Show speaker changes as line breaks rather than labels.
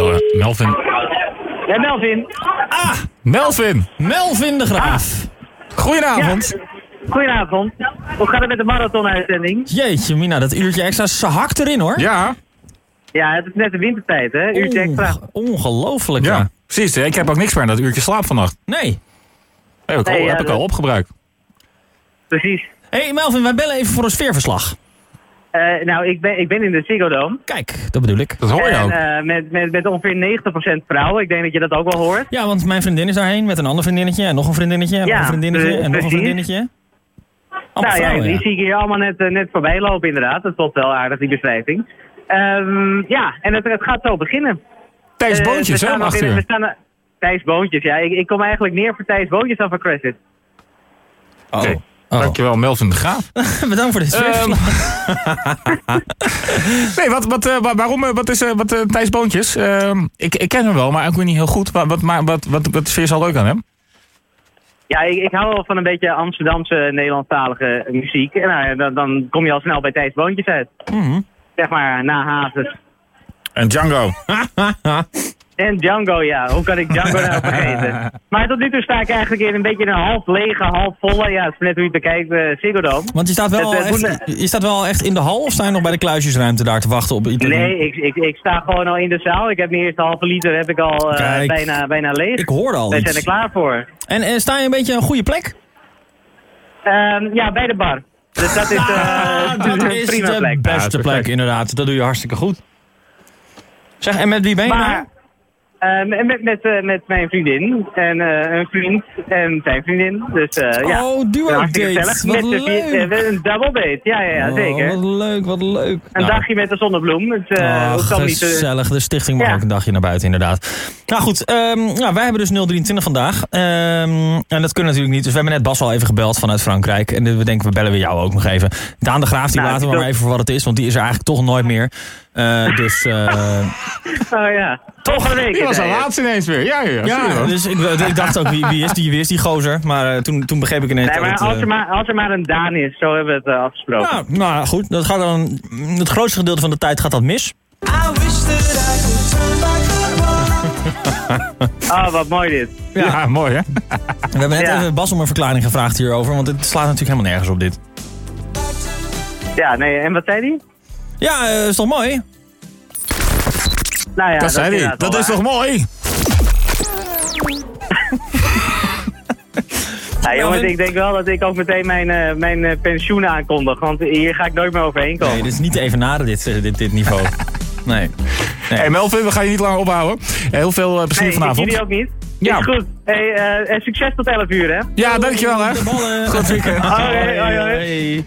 Melvin.
Ja, Melvin.
Ah, Melvin. Melvin de Graaf. Goedenavond.
Goedenavond. Hoe gaat het met de marathon-uitzending?
Jeetje, Mina, dat uurtje extra, ze hakt erin hoor.
Ja,
Ja, het is net de wintertijd, hè? Uurtje extra.
Onge- Ongelooflijk, ja.
ja. Precies, ik heb ook niks meer aan dat uurtje slaap vannacht.
Nee.
Heb ik, al,
Nee, ja,
heb ik
dat-
al opgebruikt.
Precies.
Hé hey Melvin, wij bellen even voor een sfeerverslag.
Eh, nou, ik ben, ik ben in de Ziggo Dome.
Kijk, dat bedoel ik.
Dat hoor je
En,
ook.
eh, met, met, met ongeveer 90% vrouwen. Ik denk dat je dat ook wel hoort.
Ja, want mijn vriendin is daarheen met een ander vriendinnetje en nog een vriendinnetje en nog
Ja, eh,
een vriendinnetje en nog een
precies.
vriendinnetje. Allemaal
Oh,
nou ja,
vrouwen,
die
ja.
zie ik hier allemaal net, eh, net voorbij lopen inderdaad. Dat klopt wel aardig, die beschrijving. Ehm, ja, en het, het gaat zo beginnen.
Thijs
Eh, we
Boontjes, hè,
staan
om
nog
acht
in- we
uur.
staan, eh, Thijs Boontjes, ja. Ik, ik kom eigenlijk neer voor Thijs Boontjes dan voor Crash It.
Oh.
Oké.
Oh.
Dankjewel, Melvin de Graaf.
Bedankt voor dit
Ehm,
sfeerverslag.
Nee, wat, wat, eh, wa- waarom, eh, wat is eh, wat, eh, Thijs Boontjes? Ehm, ik, ik ken hem wel, maar ik weet niet heel goed. Wat, wat, maar wat, wat, wat vind je zo leuk aan hem?
Ja, ik, ik hou wel van een beetje Amsterdamse Nederlandstalige muziek. En nou, ja, dan, dan kom je al snel bij Thijs Boontjes uit.
Mhm.
Zeg maar, na Hazes.
En Django.
En Django, ja. Hoe kan ik Django nou vergeten? Maar tot nu toe sta ik eigenlijk in een beetje in een half lege, half volle, ja, het is net hoe je het bekijkt, eh Ziggo Dome.
Want je staat, wel
Het, eh,
al echt, je staat wel al echt in de hal of sta je nog bij de kluisjesruimte daar te wachten op iedereen?
Nee, ik, ik, ik sta gewoon al in de zaal. Ik heb mijn eerste halve liter heb ik al eh,
Kijk.
bijna, bijna leeg.
Ik hoorde al
Wij
iets.
zijn er klaar voor.
En eh, sta je een beetje op een goede plek?
Ehm, ja, bij de bar. Dus dat is, eh,
Ah, dat is
prima
de
plek.
beste plek, inderdaad. Dat doe je hartstikke goed. Zeg, en met wie ben je nou?
Maar ehm, met, met, eh, met mijn vriendin en eh, een vriend en zijn vriendin. Dus eh, ja,
Oh, duo
hartstikke
date.
gezellig.
Wat
Met z'n vier-
leuk.
eh, met een double date, ja, ja, ja
Oh,
zeker.
wat leuk, wat leuk.
Een
Nou,
dagje met de zonnebloem. Het eh,
ah,
het kan niet te...
gezellig. De stichting mag
Ja.
ook een dagje naar buiten, inderdaad. Nou goed, ehm, nou, wij hebben dus 023 vandaag. Ehm, en dat kunnen natuurlijk niet. Dus we hebben net Bas al even gebeld vanuit Frankrijk. En eh, we denken, we bellen we jou ook nog even. Daan de Graaf, die
Nou,
laten we
dat-
maar even voor wat het is. Want die is er eigenlijk toch nooit meer. Eh, dus... eh,
Oh ja. Volgende week.
Die was al
zei je.
laatst ineens weer. Ja, ja, zie je
Ja,
wel.
dus ik, ik dacht ook, wie, wie, is die, wie is die gozer? Maar eh, toen, toen begreep ik ineens
Nee,
dat
maar
het,
als
eh,
er maar, als er maar een Daan is, zo hebben we het eh, afgesproken.
nou, nou goed, dat gaat dan, het grootste gedeelte van de tijd gaat dat mis.
I wish that I could turn back the clock.
Oh, wat mooi dit.
ja. mooi hè?
We hebben net
Ja.
even Bas om een verklaring gevraagd hierover, want het slaat natuurlijk helemaal nergens op dit.
Ja, nee, en wat zei die?
Ja, eh, is toch mooi?
Nou ja,
dat zei hij.
inderdaad
Dat
wel
is
waar.
toch mooi?
Ja, jongens,
Melvin?
ik denk wel dat ik ook meteen mijn, eh, mijn eh, pensioen aankondig, want hier ga ik nooit meer overheen komen.
Nee, dit is niet even naden, dit, eh, dit, dit niveau. Nee.
Hey Melvin, we gaan je niet langer ophouden. Eh, Heel veel eh, plezier
Nee, ik
vanavond.
jullie ook niet.
Ja.
Is goed. Hey, eh, en succes tot 11 uur, hè?
Ja, dankjewel hè.
De ballen. Goed
Hoi, hoi, hoi.